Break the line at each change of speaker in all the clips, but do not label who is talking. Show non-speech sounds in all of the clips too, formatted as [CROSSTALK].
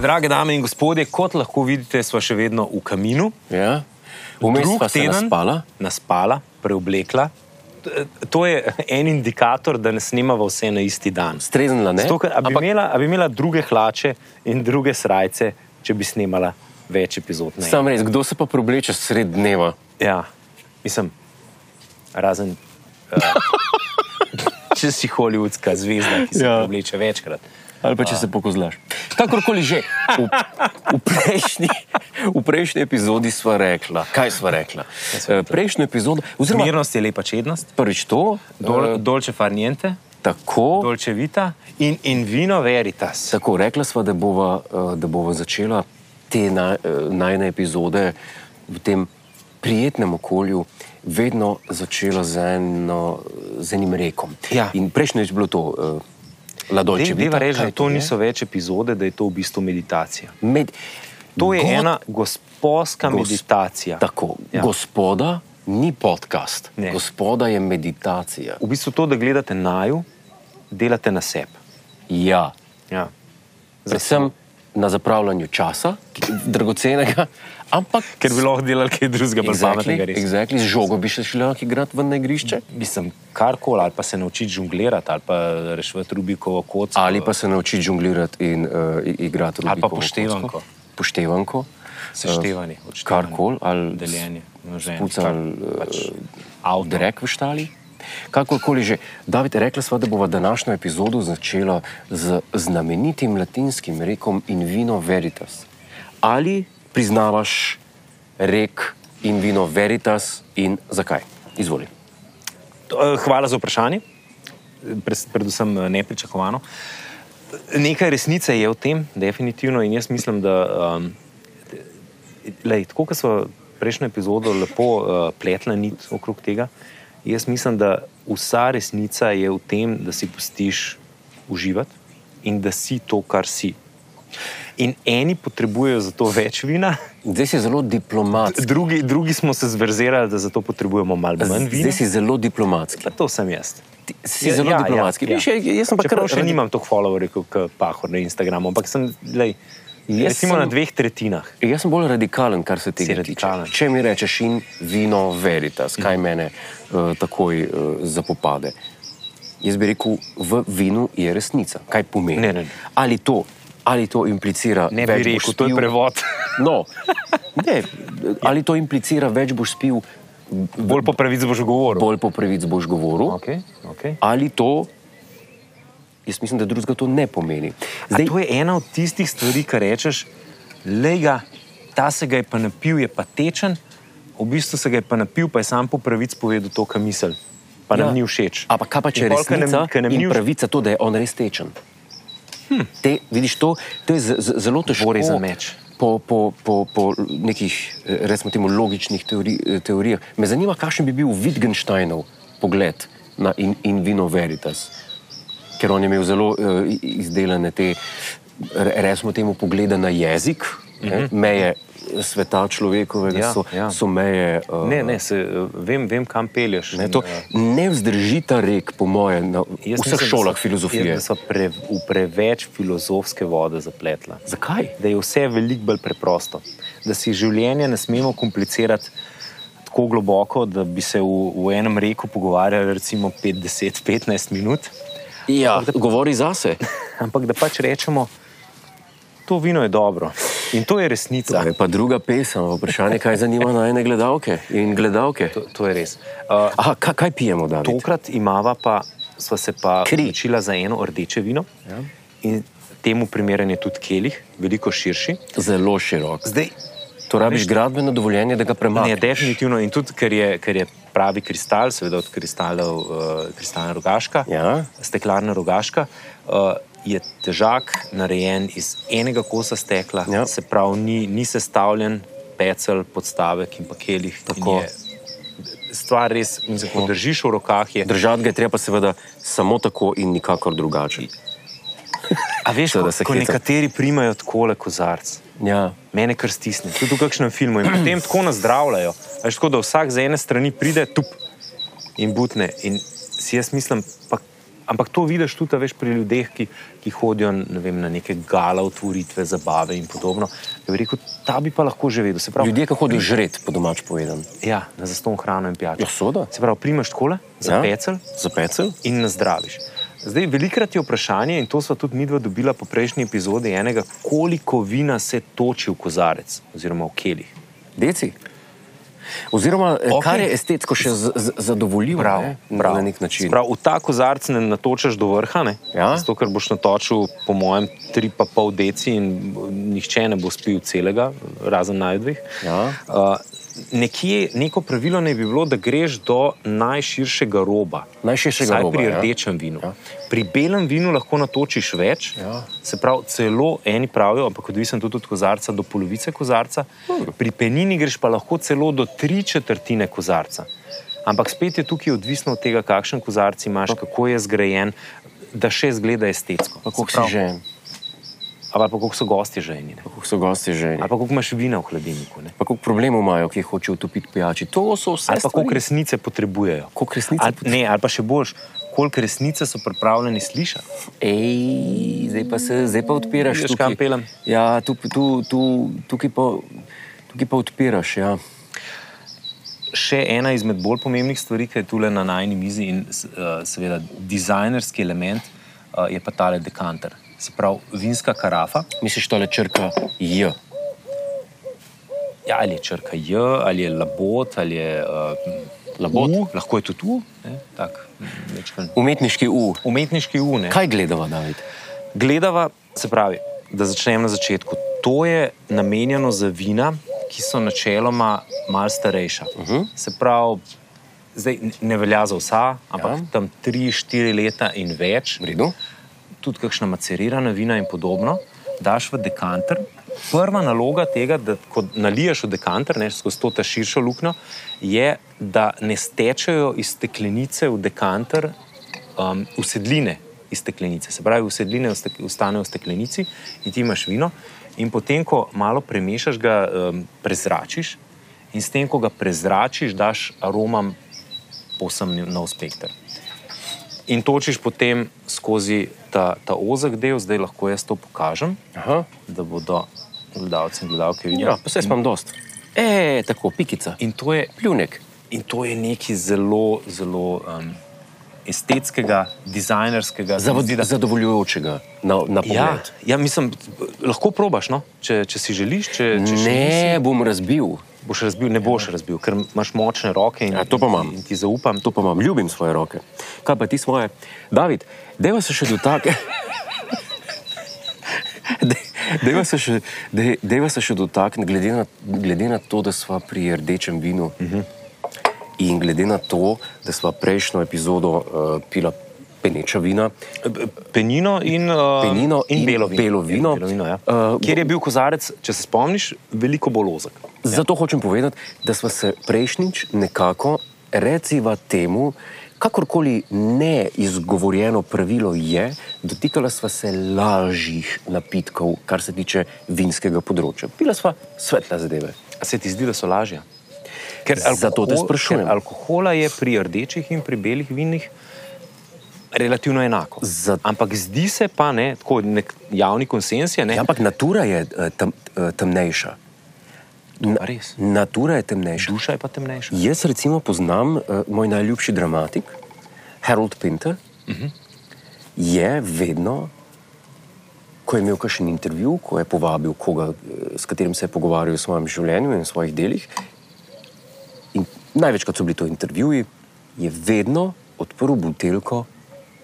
Drage dame in gospodje, kot lahko vidite, smo še vedno v kaminu.
Ja. Vmes
Drug
pa se
teden-
naspala.
Naspala, preoblekla. T- To je en indikator, da ne snemava vse na isti dan.
Streznila, ne?
Zato, ker a bi,
Ampak-
imela, a bi imela druge hlače in druge srajce, če bi snemala več epizod. na
Sam res, kdo se pa probleče sred dneva?
Ja, mislim, razen uh,
[LAUGHS]
če si holivudska zvezda, ki se
Ja.
ja. vleče večkrat.
Ali pa če se pokozlaš. Kakorkoli že, v, v, prejšnji, v prejšnji epizodi sva rekla. Kaj sva rekla? Eh, Prejšnjo epizodo, oziroma
Zmernost je lepa čednost,
prvič to,
dol,
eh,
dolče farniente,
tako,
dolče vita in, in vino veritas.
Tako, rekla sva, da bova, eh, da bova začela te na, eh, najne epizode v tem prijetnem okolju, vedno začela z, eno, z enim rekom.
Ja.
In prejšnjič je bilo to, eh, Ladojče.
Deva reče, da
Kaj
to
je?
niso več epizode, da je to v bistvu meditacija.
Med,
To je
God-
God, ena gospodska
Gos-
gos, meditacija.
Tako, ja.
Ja.
gospoda ni podcast, ne.
Ne.
gospoda je meditacija.
V bistvu to, da gledate naju, delate na sebi.
Ja.
Ja.
Predvsem na zapravljanju časa, ki- dragocenega, ampak
Ker bi lahko delali kaj drugega, pa pametnega
Exactly,
res.
exactly, z žogo bi še šli lahko igrati ven na igrišče.
mislim, kar koli, ali pa se naučiti žonglirati, ali pa rešiti Rubikovo kocko.
Ali pa se nauči žonglirati in uh, igrati
pa
Rubikovo
poštevanko.
kocko. Poštevanko. Eh,
seštevanje, odštevanje,
karkoli, ali
deljenje, množenje,
spucali,
kar- pač
eh,
avto.
Drek v štali. Kakorkoli že. David, rekla sva, da bova današnjo epizodo začela z znamenitim latinskim rekom in vino veritas. Ali priznavaš rek in vino veritas in zakaj? Izvoli.
Eh, Hvala za vprašanje, Pres- predvsem eh, nepričakovano. Nekaj resnice je v tem, definitivno, in jaz mislim, da um, lej, tako kot smo prejšnjo epizodo lepo uh, pletla nit okrog tega, jaz mislim, da vsa resnica je v tem, da si pustiš uživati in da si to, kar si. In eni potrebujejo za to več vina,
Zdaj si zelo diplomatski.
drugi, drugi smo se zverzirali, da za to potrebujemo malo manj vina.
Zdaj si zelo diplomatski.
Pa to sem jaz.
Ti Si zelo ja, diplomatski. Ja, ja. Jaz sem pa kar
Čeprav še nimam toliko followerjev kot Pahor na Instagramu, ampak sem lej,
Jaz
recimo sem...
sem-
na dveh tretjinah.
Jaz sem bolj radikalen, kar se tega
Si
tiče.
radikalen. Mm.
Če mi rečeš in vino veritas, kaj mene uh, takoj uh, zapopade. Jaz bi rekel, v vinu je resnica. Kaj pomeni?
Ne, ne, ne.
Ali, to, ali to implicira
Ne
več
bi
boš
rekel, to je
spil?
prevod.
No, ne, ali to implicira več boš spil,
[LAUGHS] Bolj po pravici boš govoril.
bolj po pravici boš govoril,
Okay, okay.
ali to, jaz mislim, da drugega to ne pomeni.
Zdaj, to je ena od tistih stvari, ki rečeš, le ga, ta se ga je pa napil, je pa tečen, v bistvu se ga je pa napil, pa je sam po pravici povedal to, kar misli. Pa nam ja. ni všeč.
Ampak kaj pa če je
In pol, ko nam-
resnica
ko nam ni
in
všeč-
pravica to, da je on res tečen? Hm. Te, vidiš, to, to je z, z, zelo težko.
Bori za meč.
Po, po, po, po nekih, eh, recimo, temu, logičnih teori, eh, teorijah. Me zanima, kakšen bi bil Wittgensteinov pogled na in, in vino veritas. Ker on je imel zelo uh, izdelane te, re- recimo, temu poglede na jezik, mm -hmm. meje sveta človekovega, ja,
Mhm. Ja,
so, ja.
ja.
so meje. Uh,
Ne, ne, se, eh, vem, vem, kam pelješ. Eh,
Ne, Ja, to ne vzdrži ta rek, po mojem, na vseh
Jaz
mislim,
da
šolah
so-
filozofije.
jaz da So pre, v preveč filozofske vode zapletla.
Zakaj?
Da je vse veliko bolj preprosto. Da si življenje ne smemo komplicirati tako globoko, da bi se v, v enem reku pogovarjali recimo 50, 15 minut,
Ja, govori zase.
ampak da pač rečemo, to vino je dobro in to je resnica.
Da. Je pa druga pesem, vprašanje, kaj zanima najne gledalke in gledalke.
To, to je res. Uh,
Aha, kaj, kaj pijemo danes?
Tokrat imava pa, sva se pa
Kri.
odločila za eno rdeče vino. Ja. In temu primeren je tudi kelih, veliko širši.
Zelo širok.
Zdaj,
To rabiš gradbeno dovoljenje, da ga
ne,
premakneš.
definitivno in tudi, ker je, ker je pravi kristal, seveda od kristalov, uh, kristalna rogaška,
Ja.
steklarna rogaška. Uh, Je težak, narejen iz enega kosa stekla,
Ja.
ja. se pravi, ni, ni sestavljen pecel, podstavek in pa kelih. in
Tako.
je Stvar res, mislim, ko držiš v rokah, je
Držati ga je treba seveda samo tako in nikakor drugače.
A veš,
Seveda
ko,
se
ko
hecam.
nekateri primajo takole kozarc,
Ja.
mene kar stisne, tudi v kakšnem filmu in potem tako nazdravljajo. A Veš, tako da vsak za ene strani pride, tup in butne. In si jaz mislim, pa, ampak to vidiš tudi a veš, pri ljudeh, ki, ki hodijo ne vem, na neke gala, otvoritve, zabave in podobno. Da bi rekel, ta bi pa lahko že vedel. Se pravi,
Ja. Ljudje, ki hodijo žret, po domač povedan.
ja, na zaston hrano in pijačo.
Ja, soda.
Se pravi, primaš tole,
Ja.
za pecel.
Zapecel?
in nazdraviš. Zdaj, velikrat je vprašanje, in to smo tudi midva dobila po prejšnji epizodi enega, koliko vina se toči v kozarec oziroma v kelih.
Deci. Oziroma, okay.
Okej.
kar je estetsko še z- z- zadovoljivo ne, na nek način.
Prav, v ta kozarec ne natočaš do vrha, ne?
Ja.
zato ker boš natočil, po mojem, tri pa pol deci in nihče ne bo spil celega, razen najdvih.
Ja.
Uh, nekje, neko pravilo ne bi bilo, da greš do najširšega roba.
Najširšega
Vsaj
roba,
pri
ja.
rdečem vinu.
Ja.
Ja. Pri belem vinu lahko natočiš več,
Ja.
se pravi, celo eni pravijo, ampak odvisen tudi od kozarca do polovice kozarca. Hmm. Pri penini greš pa lahko celo do tri četrtine kozarca. Ampak spet je tukaj odvisno od tega, kakšen kozarc imaš, kako je zgrajen, da še zgleda estetsko.
Pa koliko
Se
si
pravi,
že,
Ali pa koliko so gosti žejni. ne.
pa koliko so gosti že.
Ali pa koliko imaš vina v hladilniku. Ne?
Pa koliko problemov imajo, ki jih hočejo utopiti pijači. To so vse.
ali pa koliko
stvari.
resnice potrebujejo.
Koliko resnice
ali, ne, ali pa še boljš, koliko resnice so pripravljeni slišati.
Ej, zdaj pa se zdaj pa odpiraš.
Vidiš,
tukaj.
kam peljem?
Ja, tu, tu, tu, tukaj, pa, tukaj pa odpiraš. Ja.
Še ena izmed bolj pomembnih stvari, ki je tu na najni mizi in s- eh, seveda dizajnerski element, eh, je pa tale dekanter. Se pravi, vinska karafa,
Misliš, tole črka J.
ja, ali je črka J, ali je labot, ali je uh,
Labod?
U, lahko je tudi U, ne, tak, mm, majčkan
Umetniški U.
umetniški U. Ne.
Kaj gledava, David?
Gledava, se pravi, da začnem na začetku. To je namenjeno za vina, ki so načeloma malo starejša. Uh -huh. Se pravi, zdaj ne- ne velja za vsa, ampak
Ja.
ja. tam tri, štiri leta in več,
V redu?
tudi kakšna macerirana vina in podobno, daš v dekanter. Prva naloga tega, da ko naliješ v dekanter, ne skozi to ta širšo luknjo, je, da ne stečejo iz steklenice v dekanter um, usedline iz steklenice. Se pravi, usedline v stek- ostanejo v steklenici in ti imaš vino. In potem, ko malo premešaš, ga um, prezračiš in s tem, ko ga prezračiš, daš aromam povsem nov spektr in točiš potem skozi ta, ta ozek del, zdaj lahko jaz to pokažem,
Aha.
da bodo gledalci in gledalke videli.
Ja, pa se spam dost. E, tako, pikica.
In to je,
Pljunek.
in to je nekaj zelo, zelo um, estetskega, dizajnerskega. se mi
Zavod,
zdi, da-
zadovoljujočega na, na pogled.
Ja, ja, mislim, lahko probaš, no? če, če si želiš, če, če še
Ne bom razbil,
nisi, boš razbil, ne boš razbil, ker imaš močne roke in,
Ja, to pa imam.
in, in ti zaupam.
to pa imam, ljubim svoje roke. Kaj pa ti svoje? David, deva se še [LAUGHS] dotakniti. Deva se še, dej- dejva se še dotakniti, glede, na- glede na to, da smo pri rdečem vinu uh
Mhm.
-huh. in glede na to, da smo prejšnjo epizodo uh, pila peneča vina,
eh, Penino in, uh,
Penino in
belo vino.
belo vino.
In belo vino ja.
Eh,
uh, Kjer je bil kozarec, če se spomniš, veliko bolj ozek.
Ja. Zato hočem povedati, da smo se prejšnjič nekako reciva temu, kakorkoli neizgovorjeno pravilo je, dotikala sva se lažjih napitkov, kar se tiče vinskega področja. Pila sva svetla zadeve.
A se ti zdi, da so lažje? Ker
Zato te sprašujem.
Ker alkohola je pri rdečih in pri belih vinih relativno enako.
Za-
Ampak zdi se pa, ne, tako nek javni konsens je, ne,
Ja, ampak natura je eh, tem, eh, temnejša.
da res.
Natura je temnejša.
Duša je pa temnejša.
Jaz recimo poznam uh, moj najljubši dramatik, Harold Pinter. Uh -huh. Je vedno, ko je imel kakšen intervju, ko je povabil koga, eh, s katerim se je pogovarjal o svojem življenju in o svojih delih, in največkrat so bili to intervjuji, je vedno odprl buteljko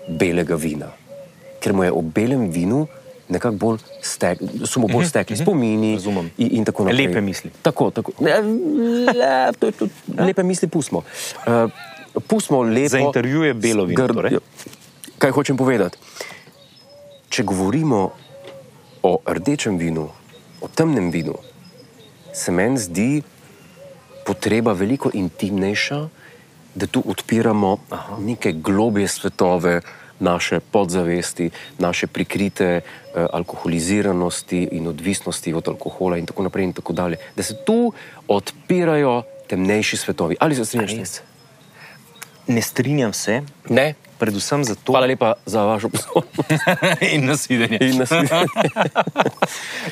belega vina. Ker mu je o belem vinu nekako bolj stek, so mu bolj stekli spomini
Mhm, Razumem.
in, in tako naprej.
Lepe misli. Ja.
Tako, tako. Ne, le, to je tudi, lepe misli pustimo. Uh, pustimo lepo.
Za intervju je belo vino,
grd-
torej?
Kaj hočem povedati? Če govorimo o rdečem vinu, o temnem vinu, se meni zdi potreba veliko intimnejša, da tu odpiramo Aha. neke globje svetove, naše podzavesti, naše prikrite eh, alkoholiziranosti in odvisnosti od alkohola, in tako naprej. In tako dalje. da se tu odpirajo temnejši svetovi. Ali se strinjaš? s tem?
Res. Ne strinjam se,
Ne.
predvsem zato,
Hvala lepa za vašo pozornost
[LAUGHS] in nasvidenje.
in naslednje.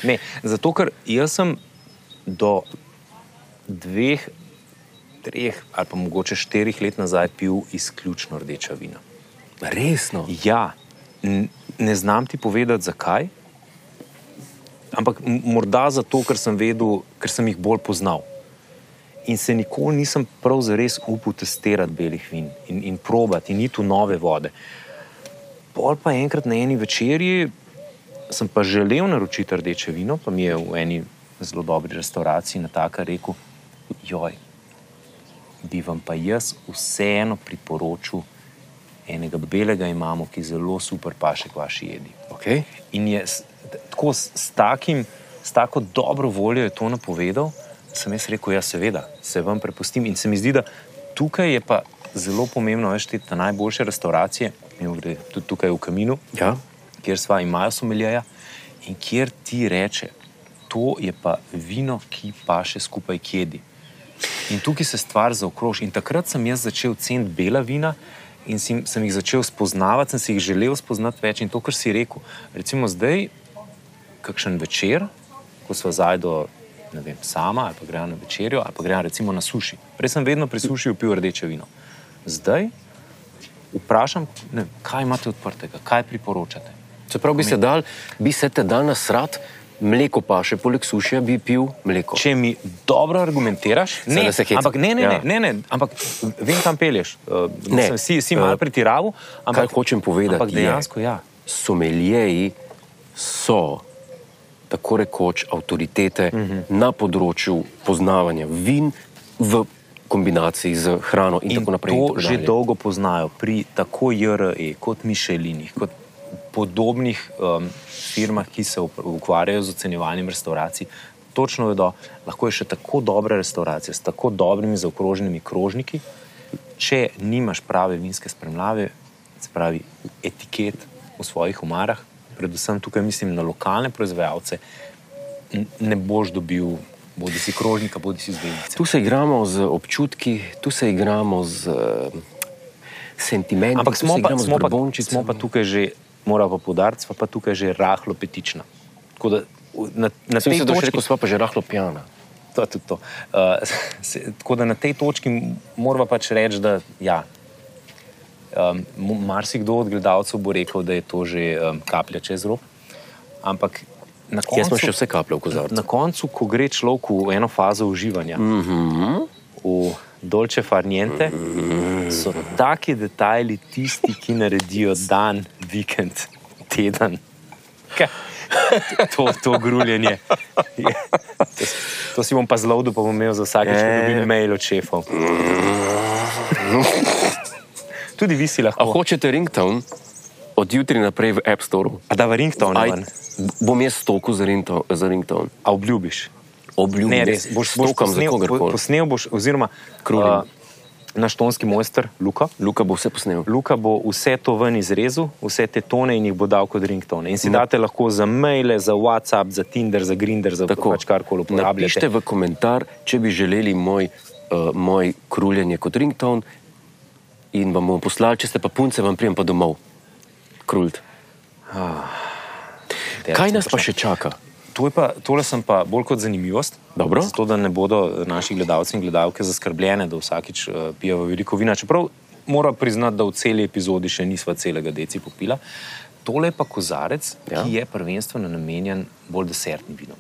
Ne, zato, ker jaz sem do dveh, treh ali pa mogoče štirih let nazaj pil izključno rdeča vina.
Resno.
Ja, n- ne znam ti povedati, zakaj. Ampak m- morda zato, ker sem vedel, ker sem jih bolj poznal. In se nikoli nisem prav zares upal testirati belih vin in, in probati in iti v nove vode. Pol pa enkrat na eni večerji sem pa želel naročiti rdeče vino, pa mi je v eni zelo dobri restauraciji na taka rekel, joj, bi vam pa jaz vseeno priporočil enega belega imamo, ki zelo super paše k vaši jedi.
Okay.
In je s- t- tako s, s, takim, s tako dobro voljo je to napovedal, da sem jaz rekel, ja, seveda, se vam prepustim. In se mi zdi, da tukaj je pa zelo pomembno, veš, te ta najboljše restauracije, mimogrede, tudi tukaj v Kaminu,
Ja.
kjer sva imajo someljeja in kjer ti reče, to je pa vino, ki pa še skupaj kedi. In tukaj se stvar zaokroži. In takrat sem jaz začel ceniti bela vina in sem, sem jih začel spoznavati, sem si jih želel spoznati več. In to, kar si rekel, recimo zdaj, kakšen večer, ko sva zajdo. Ne vem, sama ali pa gremo na večerjo, ali pa gremo recimo na suši. Prej sem vedno pri suši pil rdeče vino. Zdaj vprašam, ne, vem, kaj imate odprtega, kaj priporočate.
Čeprav bi se, dal, bi se te dal nasrat, mleko pa še poleg sušija bi pil mleko.
Če mi dobro argumentiraš,
Seveda
ne,
se hecam.
ampak ne, ne,
Ja.
ja. ne, ne, ne, ampak vem, kam pelješ. Uh,
Ne.
mislim, si si malo
Eh,
pretiraval, ampak
Kaj hočem povedati?
Ampak
je,
dejansko ja.
someljeji so tako rekoč avtoritete uh
Mhm.
-huh. na področju poznavanja vin v kombinaciji z hrano in, in
In
tako naprej. in
to
tako
že
dalje.
dolgo poznajo pri tako JRE, kot Mišelinih, kot podobnih um, firmah, ki se up- ukvarjajo z ocenjevanjem restauracij. Točno vedo, lahko je še tako dobra restauracija s tako dobrimi zaokroženimi krožniki, če nimaš prave vinske spremljave, se pravi etiket v svojih omarah, predvsem tukaj mislim na lokalne proizvajalce, n- ne boš dobil bodi si krožnika, bodi si zvezdice.
Tu se igramo z občutki, tu se igramo z eh, sentimenti,
Ampak
tu
smo
se
pa,
igramo z
smo, pa,
brbončicami.
smo pa tukaj že, mora pa poudariti, smo pa tukaj že rahlo petična. Tako da v- na, na
Sem
tej
se došel,
točki,
ko smo pa že rahlo pijana.
to, je tudi to. Uh, [LAUGHS] se, tako da na tej točki moramo pač reči, da ja, um, mo- marsikdo od gledalcev bo rekel, da je to že um, kaplja čez rob. Ampak na
Jaz sem še
koncu,
vse kaplje v kozarcu.
na koncu, ko gre človek v eno fazo uživanja, mm -hmm. v dolče farniente, so taki detajli tisti, ki naredijo dan, vikend, teden. Kaj? To, to gruljenje. Je- To, s- to si bom pa zelo dobil, pa bom imel za vsakeč, ko
Ja, ja, ja.
dobim mail od šefov. Tudi vi si
A
lahko.
hočete ringtone od jutri naprej v App Store?
A da v ringtone
Aj,
ven,
bom jaz stoku za ringtone. Za ringtone.
a obljubiš.
Obljubim,
Ne, res, boš, boš
stokam za
posnel, po,
kogarkoli.
posnel boš, oziroma a,
Krulim.
naš tonski mojster Luka.
Luka bo vse posnel.
Luka bo vse to ven izrezal, vse te tone in jih bo dal kot ringtone. In si date lahko za maile, za WhatsApp, za Tinder, za Grindr, za pač karkoli uporabljate.
Napišite v komentar, če bi želeli moj, uh, moj kruljenje kot ringtone in vam bomo poslali, če ste pa punce, vam prijem pa domov. Krult.
Ja,
Kaj nas pa še čaka?
To je pa, tole sem pa bolj kot zanimivost.
Dobro.
Zato, da ne bodo eh, naši gledalci in gledalke zaskrbljene, da vsakič eh, pijejo veliko vina. Čeprav moram priznati, da v celi epizodi še nisva celega deci popila. Tole je pa kozarec, ja.
Ja.
ki je prvenstveno namenjen bolj desertnim vinom.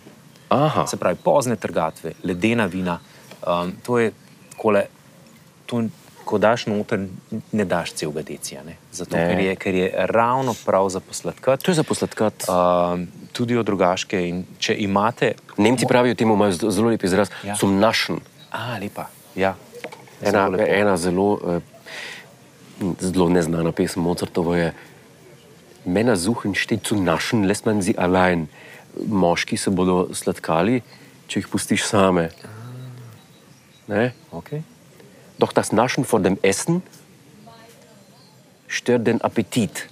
Aha,
Se pravi, pozne trgatve, ledena vina. Um, to je kole, to, ko daš noter, ne daš celega decija. Ne? Zato,
Ne.
ker je, ker je ravno prav za posladkat.
to je za posladkat.
Um, tudi od drugačke. In če imate,
Nemci pravijo, temu imajo z- zelo lep izraz, ja.
Ja.
sem našen. Ah,
a lepa. Ja.
Ena,
Zelo lepo.
ena zelo, eh, zelo neznana pesem Mozartova je: Mena zuhen štecu našen, les manj zi alain. Moški se bodo sladkali, če jih pustiš same. Ne?
Okay.
Doch das Naschen vor dem Essen stört den Appetit.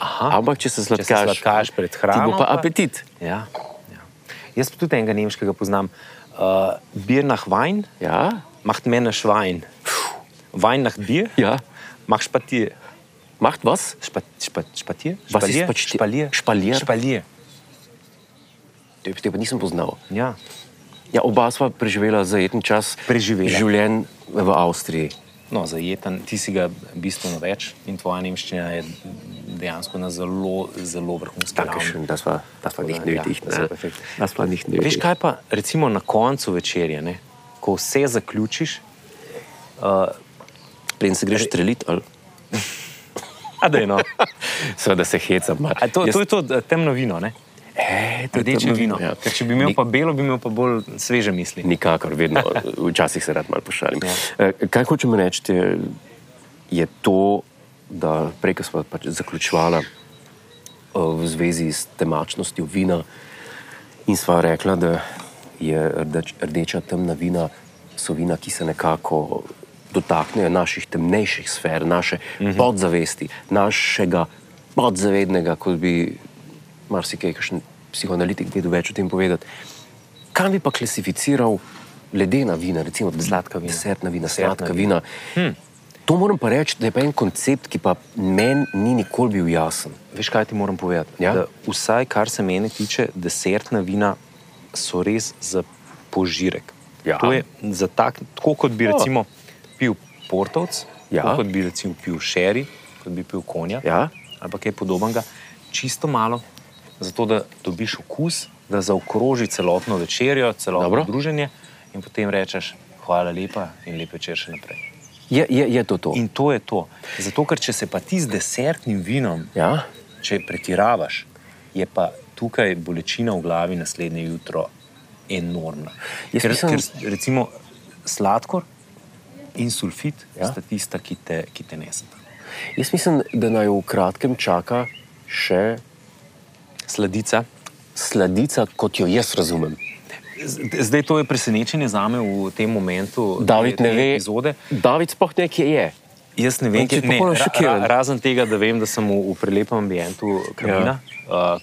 Aha.
Ampak, če se
Če se
sladkaš,
sladkaš pred
ti
hrano,
bo pa
pa-
apetit.
Ja, ja. Jaz pa tudi enega nemškega poznam. Uh, bir nach Wein,
Ja,
macht Männer Schwein. Wein nach Bier,
ja.
macht Spatier.
Macht was?
Spa, spa, spatier?
Was ist
Spalier?
Spati-
Spalier?
Špalier?
Špalier.
Te, te pa nisem poznal.
Ja.
Ja, oba sva preživela zajeten čas
Preživela.
življenj v Avstriji.
No, zajeten, ti si ga bistveno več in tvoja nemščina je dejansko na zelo, zelo vrhunskem ravni.
Dankeschön, das war, das war nicht
Ja,
nötig.
das
ne?
war perfekt.
Das war nicht
Veš
nötig.
kaj pa, recimo na koncu večerje, ne? ko vse zaključiš,
Preden se greš strelit, ali?
a da je no.
Seveda se hecam. ma.
A To,
Jaz-
to je to eh, temno vino, ne? Eh,
E, to je
Rdeče
temno
vino.
ja.
Ker če bi imel
Ni-
pa belo, bi imel pa bolj sveže misli.
Nikakor, vedno, včasih se rad malo pošalim. Ja. Kaj hočem reči, je, je to, da prej, ko smo pač zaključovali eh, v zvezi s temačnostjo vina, in sva rekla, da je rdeč, rdeča temna vina, so vina, ki se nekako dotaknejo naših temnejših sfer, naše mhm. podzavesti, našega podzavednega, kot bi marsikaj, kakšen psihoanalitik vedel več o tem povedati. Kam bi pa klasificiral ledena vina, recimo
Sladka vina.
desertna vina,
Desertna Hm.
sladka vina? Hmm. To moram pa reči, da je pa en koncept, ki pa meni ni nikoli bil jasen.
Veš, kaj ti moram povedati?
Ja.
Da Vsaj kar se mene tiče, desertna vina so res za požirek.
Ja.
To je za tak, tako, kot bi
Ja.
recimo pil portovc,
Ja.
tako kot bi recimo pil šeri, kot bi pil konja
Ja.
ali pa kaj podobnega. Čisto malo, zato da dobiš okus, da zaokroži celotno večerjo, celotno
Dobro.
Dobro. druženje in potem rečeš hvala lepa in lep večer še naprej.
Je, je, je to to?
In to je to. Zato, ker če se pa ti z desertnim vinom
Ja?
Če pretiravaš, je pa tukaj bolečina v glavi naslednje jutro enormna.
Jaz
Ker,
mislim-
mislim... ker recimo sladkor in sulfit
Ja.
ja? sta tista, ki te, ki te neseta.
Jaz mislim, da naj v kratkem čaka še
Sladica.
sladica, kot jo jaz razumem.
Z- Zdaj to je presenečenje za me v tem momentu.
David
te-
ne
te
ve,
Epizode.
David sploh ne ve, kje je.
Jaz ne vem,
Ampak si
kje ne,
popolnoma
ra,
šokiran.
ra, razen tega, da vem, da sem v, v prelepem ambientu Kamina. Ja. Uh,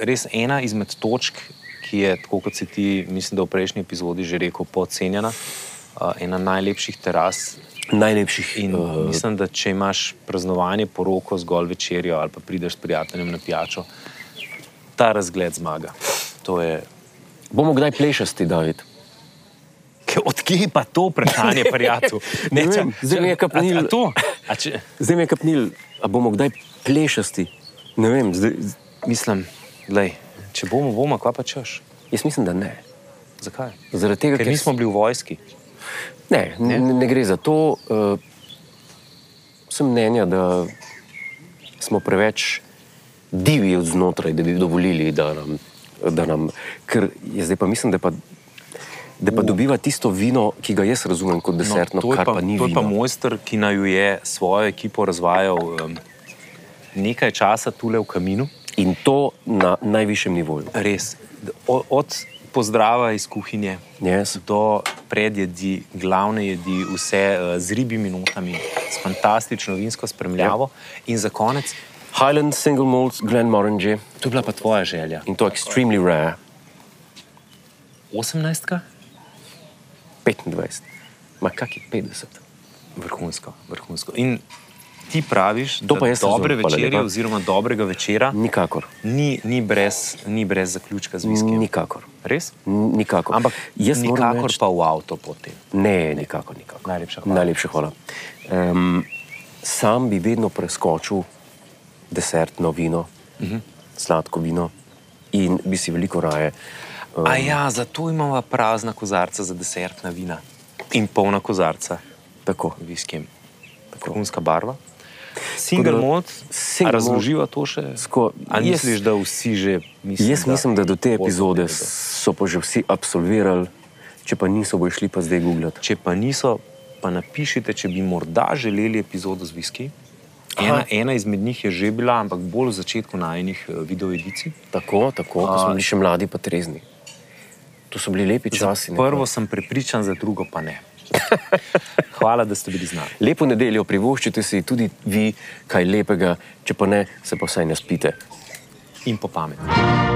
res ena izmed točk, ki je, tako kot si ti, mislim, da v prejšnji epizodi že rekel, podcenjena, uh, ena najlepših teras.
Najlepših eh,
In uh, mislim, da če imaš praznovanje, poroko, zgolj večerjo ali pa prideš s prijateljem na pijačo, ta razgled zmaga. To je.
Bomo kdaj plešasti, David.
Ke- Odkje je pa to [LAUGHS] vprašanje, prijatelj?
Ne vem,
če-
zdaj mi je
če-
kapnil.
a- a to? A če-
Zdaj me je kapnil, a bomo kdaj plešasti. Ne vem, zdaj, z-
Mislim, da če bomo, bomo, kva pa češ.
jaz mislim, da ne.
Zakaj?
Zaradi tega,
Ker nismo bili v vojski.
Ne, ne, ne gre za to. Uh, sem mnenja, da smo preveč divji od znotraj, da bi dovolili, da nam. Da nam ker je zdaj pa mislim, da pa. Da pa dobiva tisto vino, ki ga jaz razumem kot desertno,
to
no,
je
kar pa, pa ni
to je pa
vino.
mojster, ki naj jo je svojo ekipo razvajal um, nekaj časa tule v kaminu.
In to na najvišjem nivoju.
Res, d- o- od pozdrava iz kuhinje
Yes.
do predjedi, glavne jedi, vse uh, z ribjimi notami, s fantastično vinsko spremljavo. Ja. In za konec,
Highland Single Malt Glenmorangie
to je bila pa tvoja želja.
in to je extremely rare,
18,
25, ma kakih 50.
vrhunsko, vrhunsko. In ti praviš,
To
da
pa jaz
dobre
razumem, hvala
večerje,
lepa.
oziroma dobrega večera,
Nikakor,
ni, ni, brez, ni brez zaključka z viskijem.
nikakor,
Res?
nikakor.
Ampak
Mm. jaz moram
nikakor
reči-
pa v avto potem.
Ne, nikakor, nikakor.
Najlepša hvala.
Najlepša hvala. Um, sam bi vedno preskočil desertno vino, uh -huh. sladko vino in bi si veliko raje.
Um. A ja, zato imamo prazna kozarca za desertna vina in polna kozarca
Tako.
z viskijem. Vrhunska barva. Single
Tako da-
mod,
single malt-
razloživa to še?
Sko-
Ali
jaz-
misliš, da vsi že mislijo?
Jaz mislim, da do te
Osem
epizode
vedo.
so pa že vsi absolvirali, če pa niso, bojo šli pa zdaj googlati.
Če pa niso, pa napišite, če bi morda želeli epizodo z Viski. Ena,
Aha.
ena izmed njih je že bila, ampak bolj v začetku eh, najnih videoedicij.
Tako, tako, ko
A.
smo bili še mladi, pa trezni. To so bili lepi časi. ne?
Prvo sem prepričan, za drugo pa ne. [LAUGHS] Hvala, da ste bili z nami.
Lepo nedeljo, privoščite si tudi vi kaj lepega, če pa ne, se pa vsaj naspite.
In po pameti.